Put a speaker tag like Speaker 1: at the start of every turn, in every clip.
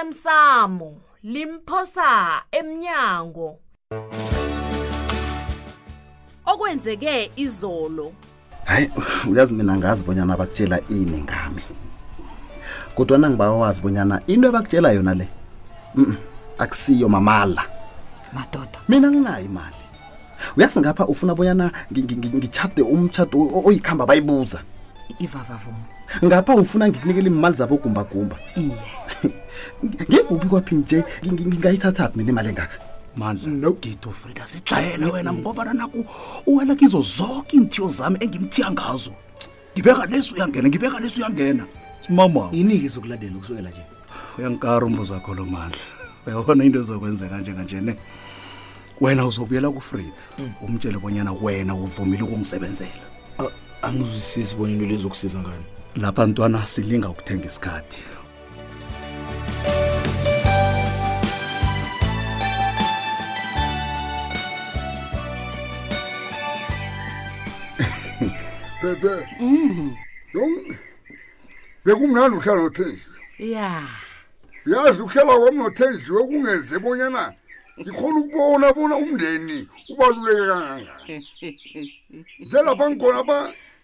Speaker 1: osemsamo limphosa emnyango okwenzeke izolo
Speaker 2: hayi uyazi mina ngazi bonyana bakutshela ini ngami kodwana ngibawazi bonyana into ebakutshela yona le mm akusiyo mamala
Speaker 3: madoda
Speaker 2: mina nginayo imali uyazi ngapha ufuna bonyana ngi- ngi- ngi- ngitshade umtshado o- oyikhamba bayibuza
Speaker 3: ivavavuma
Speaker 2: ngapha ufuna ngikunikela imali zabogumbagumba
Speaker 3: iye
Speaker 2: ngekuphi kwaphi nje ngi- ngi- ngingayithathaphi mina imali engaka
Speaker 4: mandla nogido frida sijayela wena ngobana naku uwela kizo zonke iinthiyo zami engimthiya ngazo ngibeka lesi uyangena ngibeka lesi uyangena simama
Speaker 5: yini-ke izokulandela ukusukela nje
Speaker 4: uyankara umbuzo wakho lo mandla uyabona into ezokwenzeka njenganje-ne wena uzobuyela kufrida umtshele bonyana wena uvumile ukungisebenzela
Speaker 3: Oh,
Speaker 5: A- angizwisisi bona into lezokusiza ngani
Speaker 4: lapha ntwana silinga ukuthenga isikhathi
Speaker 6: Pepe. Mhm. Yong. Bekumnandi uhlala noThenjiwe.
Speaker 3: ya
Speaker 6: Yazi ukuhlala kwami noThenjiwe kungenze bonyana ngikhona ukubona bona umndeni ubaluleke kangangani. Njengalapha ngikhona ba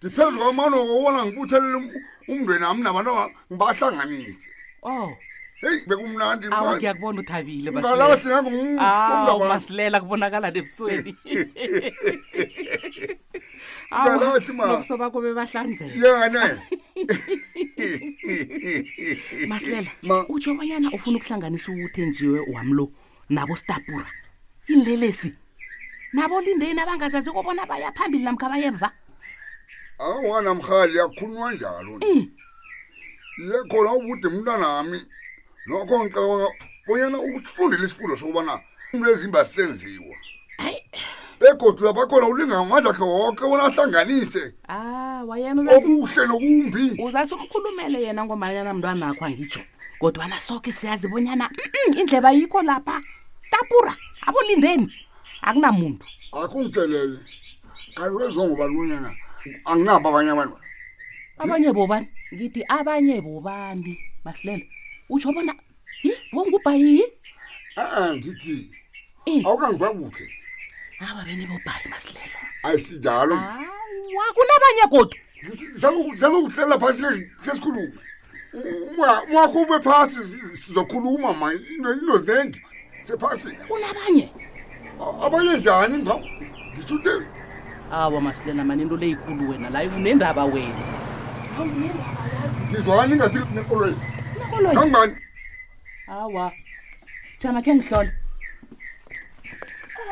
Speaker 6: ngiphezu kwamano ngobona ngibuthelele um- umndeni wami nabantu aba- ngibahlanganise.
Speaker 3: o
Speaker 6: Heyi bekumnandi
Speaker 3: awu
Speaker 6: manje.
Speaker 3: ngiyakubona uthabile
Speaker 6: Ngalathi
Speaker 3: awu
Speaker 6: nangumfundo
Speaker 3: masilela kubonakala nebusweni
Speaker 6: Ngalathi, ma.
Speaker 3: nobuso bakho bebahlanzela
Speaker 6: yane
Speaker 3: masilela
Speaker 6: Ma.
Speaker 3: utsho banyana ufuna ukuhlanganisa uthenjiwe wamlo nabo stapura inlelesi nabo lindeni abangazazi kobona baya phambili namkha bayemva
Speaker 6: awanamhali yakhulunywa njalo nje.
Speaker 3: Eh,
Speaker 6: ye khona ubude mntanami nokho ngicabanga bonyana ukufundela isifundo sokubana into ezimba sisenziwa begodu lapha khona ulinga ngamandla akhe woke bona ahlanganise
Speaker 3: ah wayena
Speaker 6: Oh,
Speaker 3: uzazi-
Speaker 6: okuhle nokumbi
Speaker 3: uzase umkhulumele yena ngomanyana mntwana akho angitsho kodwana soke siyazi bonyana mm, indleba yikho lapha tapura abolindeni akunamuntu
Speaker 6: akungitelele kanti kwenziwa ngobani bonyana anginabo abanye abantu
Speaker 3: abanye bobani ngithi abanye bobani masilela utsho bona yi wongubhayiyi
Speaker 6: a-a ngithi
Speaker 3: Eh.
Speaker 6: awukangiva kuhle
Speaker 3: aba benibobhayi masilela
Speaker 6: ayisinjalo
Speaker 3: awa kunabanye kodwa
Speaker 6: salokuhlela phasi sesikhulume mwakho ube phasi sizokhuluma ma into zinengi sephasini
Speaker 3: kunabanye
Speaker 6: abanye njani mba ngishute
Speaker 3: awa masilela mani into leyikulu wena layo unendaba wena Hawu, unendaba yazi.
Speaker 6: ngizwani ngathi nekoloyi
Speaker 3: Nakolo-
Speaker 6: kangani
Speaker 3: awa jama khe ngihlole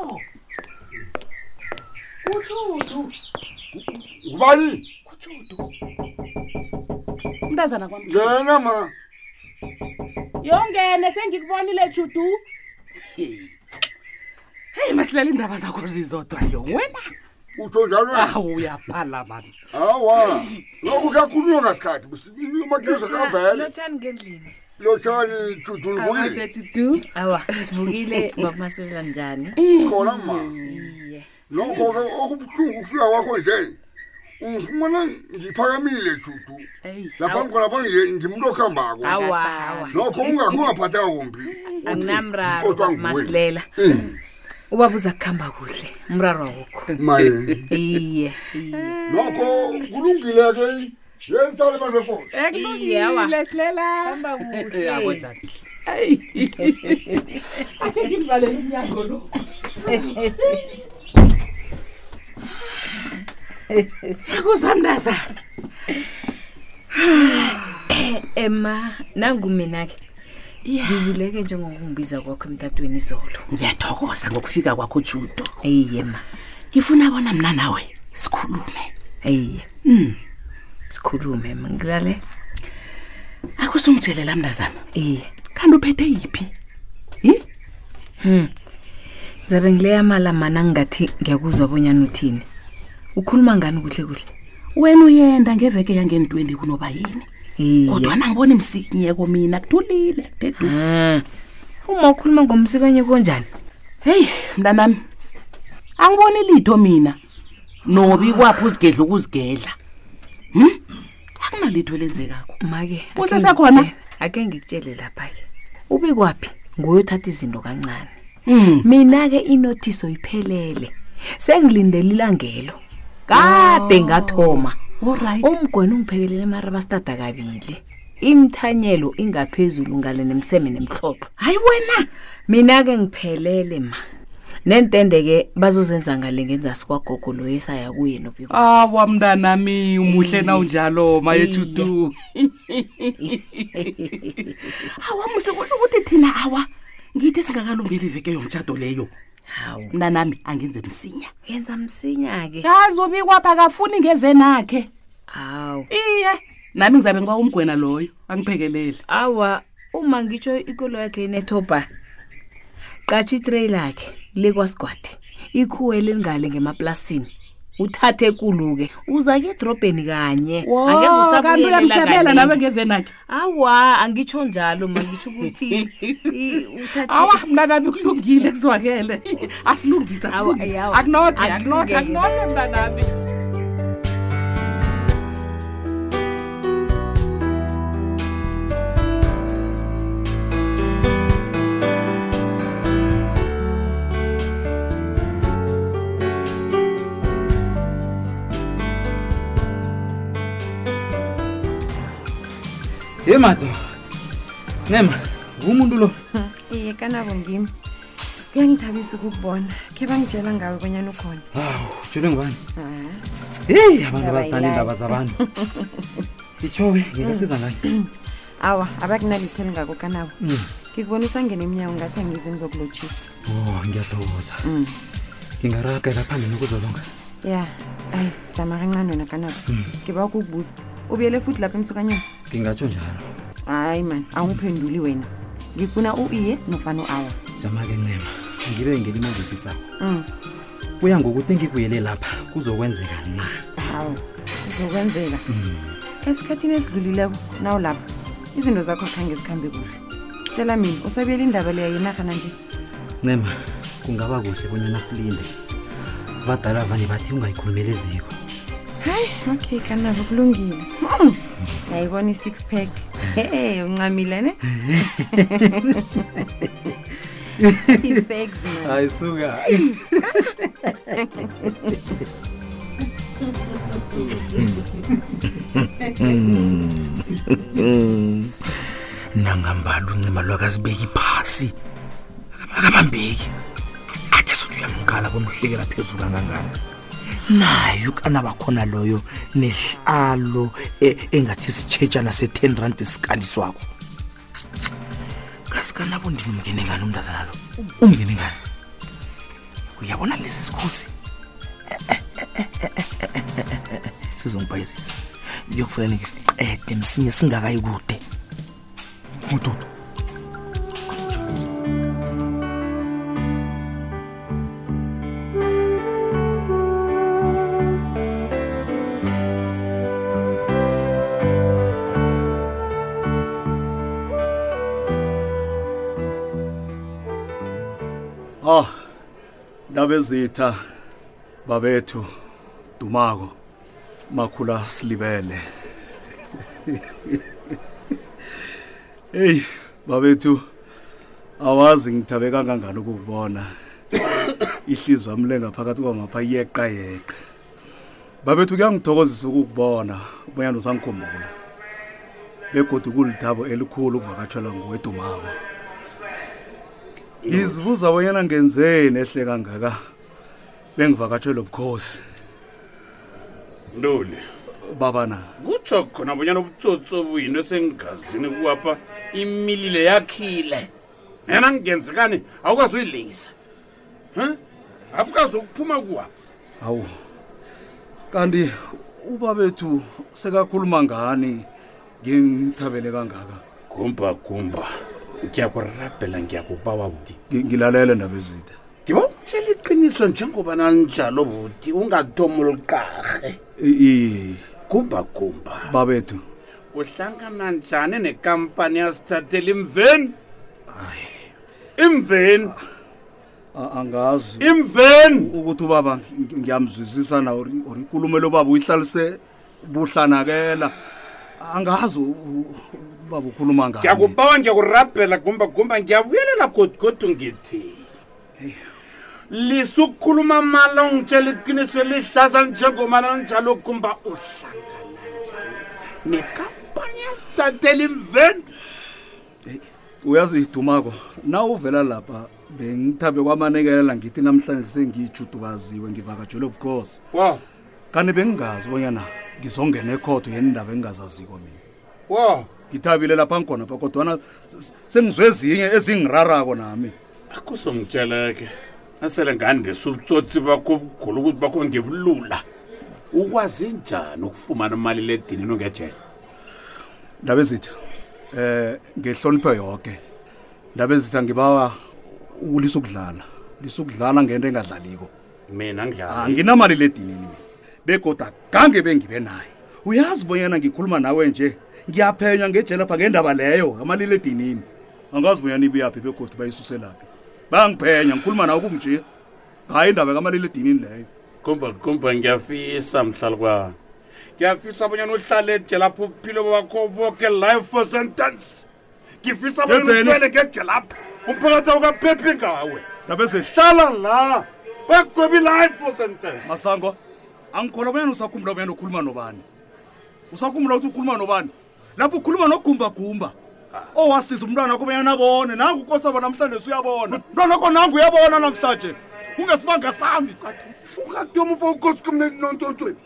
Speaker 3: Oh. utshudu
Speaker 6: ubani
Speaker 3: utshudu mntazana kwam
Speaker 6: njena ma
Speaker 3: yongene sengikubonile tshudu heyi masilela iindaba zakho zizodwa yo wena
Speaker 6: utsho njalo
Speaker 3: awu uyabhala mani
Speaker 6: hawa lokhu kuyakhulunywa ngasikhathi umakiso kavele
Speaker 7: lotshani ngendlini
Speaker 6: lotshani tudunivukile
Speaker 3: tshudu
Speaker 7: awa sivukile babamaselela njani
Speaker 6: sikhola ma lokho-ke okubuhlungu ukufika kwakho nje ungifumana ngiphakamile judu
Speaker 3: eyi
Speaker 6: lapha ngikhona pha nje ngimntu okuhambako
Speaker 7: awa
Speaker 3: Awa.
Speaker 7: awa
Speaker 6: nokho ungaphatheka kumbi Hmm,
Speaker 7: anginamraro
Speaker 6: Kodwa nguwe.
Speaker 7: masilela ubaba uza kuhamba kuhle umraro wakukho
Speaker 6: maye
Speaker 7: iye iye
Speaker 6: nokho kulungile-ke yensale banefoni
Speaker 7: Iye, awa.
Speaker 3: ekulungile silela
Speaker 7: hamba
Speaker 3: Eh,
Speaker 7: kuhle
Speaker 3: akhe ngimvalele umnyango lo yakuzamntazana
Speaker 7: ema nangumina-ke ngizileke njengokungibiza kwakho emtatweni izolo
Speaker 3: ngiyathokoza ngokufika kwakho judo
Speaker 7: eyiye ma
Speaker 3: ngifuna bona mna nawe sikhulume
Speaker 7: eyiye
Speaker 1: Hmm.
Speaker 7: sikhulume ma ngilale
Speaker 3: akusungitshelela mntazana
Speaker 7: iye
Speaker 3: kanti uphethe yiphi
Speaker 7: zabe ngileya malamana ngingathi ngiyakuzwa bonyana uthini ukhuluma ngani kuhle kuhle
Speaker 3: wena uyenda ngeveke yangeni-20 kunoba yini
Speaker 7: iye
Speaker 3: kodwana ngibona imsikinyeko mina kuthulile kudedu
Speaker 7: Ah, uma ukhuluma ngomsikanye konjani
Speaker 3: heyi mntanami angiboni litho mina nobi kwapho uzigedla ukuzigedla hm akunalitho elenzekakho
Speaker 7: make
Speaker 3: Usesekhona?
Speaker 7: ake ngikutshele lapha-ke ubikwaphi nguyothatha izinto kancane
Speaker 3: Mm.
Speaker 7: mina-ke inothiso iphelele sengilindela ilangelo kade ngathoma
Speaker 3: Oh, Alright.
Speaker 7: umgwena ungiphekelele marabastada kabili imthanyelo ingaphezulu ngale nemseme nemhlopho
Speaker 3: hayi wena
Speaker 7: mina-ke ngiphelele ma nentende-ke bazozenza ngale ngenza sikwagogo lo esaya kuye nobiko
Speaker 3: awa mntanami umuhle nawunjalo mayethutu awa muse kusho ukuthi thina awa ngithi singakalungeli iveke yomtshato leyo
Speaker 7: hawu
Speaker 3: mntanami angenze msinya
Speaker 7: yenza msinya-ke
Speaker 3: kazubikwapha akafuni ngevenakhe
Speaker 7: hawu
Speaker 3: iye nami ngizabe ngiba umgwena loyo angiphekelele
Speaker 7: awa uma ngitsho ikolo yakhe inethoba qatsha itreyi lakhe lekwasigwadi ikhuwele lingale ngemaplasini uthathe ekulu-ke uza-ke edrobheni kanye Angeze usabuyelela
Speaker 3: kanti uyamjabela nawe
Speaker 7: kanengi.
Speaker 3: ngevenakhe
Speaker 7: awa angitsho njalo ma ngitsho ukuthi i- uthathe-
Speaker 3: awa mntanami kulungile kuzwakele asilungise
Speaker 7: Awa,
Speaker 3: asilungise.
Speaker 7: awa,
Speaker 3: akunothe
Speaker 7: akulungele.
Speaker 3: akunothe akunothe mntanami
Speaker 4: ye madoda nema ngumuntu lo
Speaker 8: iye kanabo ngimi kuyangithabisa ukukubona khe bangitshela ngawe bonyana ukhona
Speaker 4: hawu jule ngubani heyi abantu abazithanda iindaba zabantu itsho-ke ngingasiza ngani
Speaker 8: awa abakunalitho elingako kanabo ngikubona usangena emnyango ngathi angize ngizokulotshisa
Speaker 4: o ngiyathokoza ngingaragela phambili ukuzolonga
Speaker 8: ya ayi jama kancane wena kanabo ngiba ukukubuza ubuyele futhi lapha emthukanyeni
Speaker 4: ngingatsho njalo
Speaker 8: hayi mani awungiphenduli wena ngifuna u-iye nofana u-awa
Speaker 4: jama-ke nema ngibe ngelimangizisako
Speaker 8: Mm.
Speaker 4: kuya ngokuthi engibuyele lapha kuzokwenzeka na
Speaker 8: hawu kuzokwenzeka esikhathini esidlulileko nawulapha izinto zakho khange zikhambe kuhle tshela mina usabuyela indaba leya yenarhana nje
Speaker 4: nema kungaba kuhle bonyana silinde abadala vane bathi ungayikhulumeli eziko
Speaker 8: okay kanabo kulungile yayibona i-six pack e uncamile ne i-sex man.
Speaker 4: hayi suka
Speaker 5: nangambala uncima lwakazibeki phasi akabambeki akhe sothi uyamqala bomhlekela phezulu kangangani naye ukana bakhona loyo nehlalo e- engathi sitshetshana se-ten rand isikali swakho kasikanabo ndinumngene ngani umntazana lo umngene ngani uyabona lesi sikhosi sizongibhayizisa kuyokufaneleke siqede msinye singakayi kude mududu ah dabezitha babethu dumako makhula silibele hey babethu awazi ngithabe kangangani ukukubona ihlizwa mlenga phakathi kwamapha yeqa yeqa babethu kuyangithokozisa ukukubona ubonyana usangikhumbula begodwa kulithabo elikhulu ukuvakatshelwa ngowedumako ngizibuza bonyana ngenzeni ehle kangaka bengivakatshelwe bukhosi
Speaker 9: ntoli
Speaker 5: baba na
Speaker 9: kutsho khona bonyana ubutsotso buyinto esengigazini kuwapha imilile yakhile yena kungenzekani awukazi uyileyisa um abukazi ukuphuma kuwapha
Speaker 5: hawu kanti ubabethu sekakhuluma ngani ngimthabele kangaka
Speaker 9: gumba gumba ngiyakurabhela ngiyakubawa buti
Speaker 5: Ngi- ngilalele ndaba ezitha
Speaker 9: ngiba umtshela iqiniso njengoba nalinjalo buti ungathomi oluqarhe
Speaker 5: iye
Speaker 9: gumba gumba
Speaker 5: babethu
Speaker 9: uhlangana njani nekampani yasithathela imveni imveni
Speaker 5: a- angazi
Speaker 9: imveni
Speaker 5: ukuthi ubaba ngi- ngiyamzwisisa na or or ikulumelo baba uyihlalise buhlanakela angazi u- u- ubaba ukhuluma ngani
Speaker 9: ngiyakubawa ngiyakurabhela gumbagumba ngiyabuyelela godigodu ngithi lisukhuluma mala ungitshela iqiniso lihlaza njengomana njalo gumba uhlangana njani nekampani yasitatela imveni
Speaker 5: uyazi idumako na uvela lapha bengithabe kwamanekelela ngithi namhlanje sengiyijudukaziwe ngivakajelwe bukhosi
Speaker 9: wow
Speaker 5: kanti bengingazi bonyana ngizongena ekhodo yenindaba engingazaziko mina
Speaker 9: wow
Speaker 5: ngithabile lapha ngkhona pha kodwana s- s- sengizwe ezinye ezingirarako nami
Speaker 9: akusongitsheleke nasele ngandisa ubutsotsi bakho obugula ukuthi bakho ngebulula ukwazi njani ukufumana imali ledinini ungejela
Speaker 5: ndaba ezithi um ngehlonipho yoke ndaba ezithi angibawa ulisa ukudlala lisa ukudlala ngento engadlaliko
Speaker 9: mina ngidlala
Speaker 5: anginamali ledinini mina begoda gange bengibe naye uyazi bonyana ngikhuluma nawe nje ngiyaphenywa ngejelapha ngendaba leyo amalile edinini angazi bonyana ibuyaphi begodi bayisuselaphi bangiphenya ngikhuluma nawe kunje hayi indaba kamalile edinini leyo
Speaker 9: kumba kumba ngiyafisa mhlala kwami ngiyafisa abonyana uhlale ejelapha uphilo bakho boke life for sentence ngifisa
Speaker 5: Yenzeni?
Speaker 9: abonyana ngejelapha umphakathi awukaphephi ngawe
Speaker 5: ndaba ezehle
Speaker 9: hlala la bagwebi life for sentence
Speaker 5: masango angikhola bonyana usakhumbula bonyana ukhuluma nobani usakhumbula ukuthi ukhuluma nobani lapho ukhuluma nogumbagumba owasiza umntwana wakho bonyana abone nangu ukosaba namhlanje usuyabona mntwana wakho nangu uyabona namhlanje kungesibanga sami
Speaker 9: ukatomufa ukosi kumneni nontontweni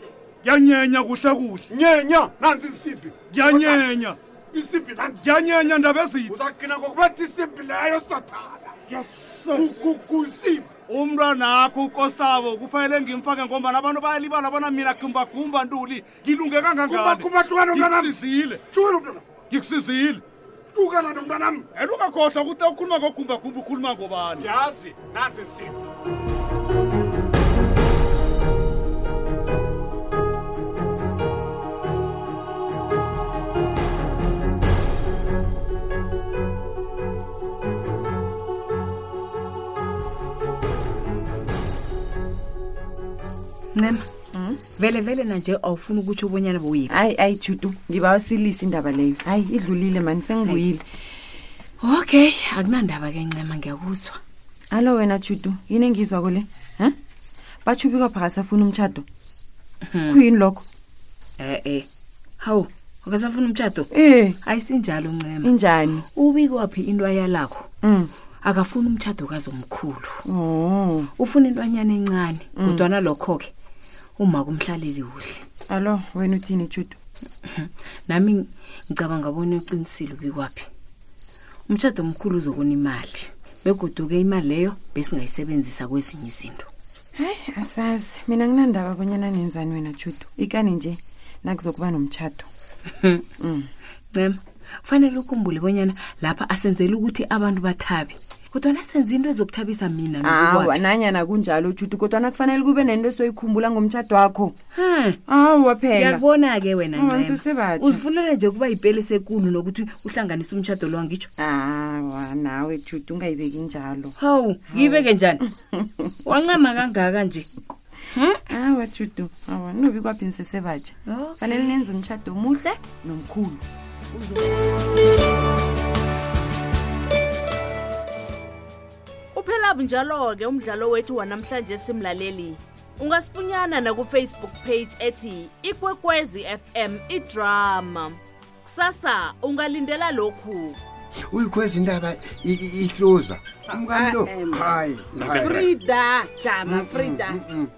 Speaker 5: ngiyanyenya kuhle kuhle
Speaker 9: nyenya nansi insimbi
Speaker 5: ngiyanyenya
Speaker 9: insimbi nansi
Speaker 5: ngiyanyenya ndaba ezitho
Speaker 9: uzaqina ngokubetha isimbi leyo sathana kukukusimbi
Speaker 5: umntwana akho ukosabo kufanele ngimfake ngombana abantu bayalibala bona mina gumbagumba ntuli ngilunge kangangani
Speaker 9: Gumba, gumba, hlukana nomntwana.
Speaker 5: Ngikusize,
Speaker 9: tukana mntana
Speaker 5: ngikusizile
Speaker 9: tukana nomntanam
Speaker 5: and ungakhohlwa ukuthi ukhuluma ngogumbagumba ukhuluma ngobani
Speaker 9: yazi nansi insimbi
Speaker 7: ncema mm, vele vele nanje awufuni ukutsho obonyana bowuyiphi
Speaker 8: hayi ayi judu ngibawusilisa indaba leyo hayi idlulile mani sengibuyile
Speaker 7: okay akunandaba ke ncema ngiyakuzwa
Speaker 8: alo wena judu yini engizwa kule ha batsho ubikapha kasafuna umtshado kuyini lokho
Speaker 7: e-e hawu akasafuna umtshato
Speaker 8: Eh,
Speaker 7: ayisinjalo
Speaker 3: Mm.
Speaker 7: ncema
Speaker 8: injani
Speaker 7: ubikwaphi into ayalakho
Speaker 8: Mm.
Speaker 7: akafuni umtshato kazomkhulu
Speaker 8: Oh,
Speaker 7: ufuna intwanyana encane kodwana lokho-ke uma kumhlaleli kuhle
Speaker 8: alo wena uthini judu
Speaker 7: nami ng- ngicabanga bona uqinisile ubikwaphi umtshato omkhulu uzokuna imali begoduke imali leyo besingayisebenzisa kwezinye izinto
Speaker 8: Hayi, asazi. Mina nginandaba abonyana nenzani wena Judu. Ikani nje nakuzokuba nomtchado.
Speaker 7: ncema kufanele ukhumbule bonyana lapha asenzeli ukuthi abantu bathabe kodwana senze into ezokuthabisa mina
Speaker 8: Hawa,
Speaker 7: nobikwaphi
Speaker 8: nanyana kunjalo Judu, kodwa nakufanele kube nento esoyikhumbula ngomtchado wakho.
Speaker 7: Hmm.
Speaker 8: Hawa phela.
Speaker 7: ngiyakubona-ke wena
Speaker 8: Mm,
Speaker 7: Ncema.
Speaker 8: sisebatjha.
Speaker 7: uzifunela nje ukuba yipelisi ekulu nokuthi uhlanganise umtshado lo angitsho
Speaker 8: Hawa, nawe Judu ungayibeki njalo.
Speaker 7: hawu ngiyibeke njani wancama kangaka nje
Speaker 8: Hawa Judu, hawa, nobi kwaphi nisesebatsha.
Speaker 7: Okay.
Speaker 8: Fanele nenze umtchado omuhle nomkhulu.
Speaker 1: Uphela njalo-ke umdlalo wethu wanamhlanje simlaleli. Ungasifunyana na ku-Facebook page ethi Ikwekwezi FM iDrama. Kusasa ungalindela lokhu.
Speaker 10: uyikhweza indaba i- i- ihluza
Speaker 11: Ah,
Speaker 10: umkani lo hayi Mm,
Speaker 11: frida jama frida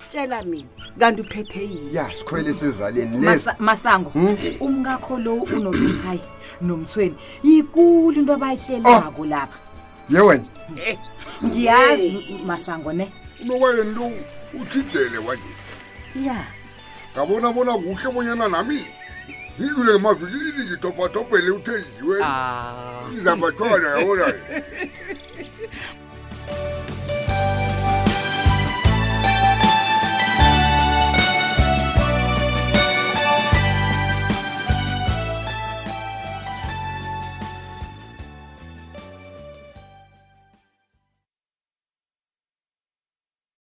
Speaker 11: tshela mina kanti uphethe yini
Speaker 10: ya sikhwele sezaleni lezi
Speaker 11: Masa- masango
Speaker 1: Hmm?
Speaker 11: umkakho lo unomithayi nomthweni yikulu into abayihlelako lapha
Speaker 10: ye wena
Speaker 1: Oh,
Speaker 11: ngiyazi masango ne
Speaker 6: unowayeni lo uthidele wanje
Speaker 11: ya
Speaker 6: ngabona bona kuhle bonyana nami
Speaker 3: Ah.
Speaker 6: ngidlule ngemavikilini ngitopatopele uthenjiwe izambathwana yabona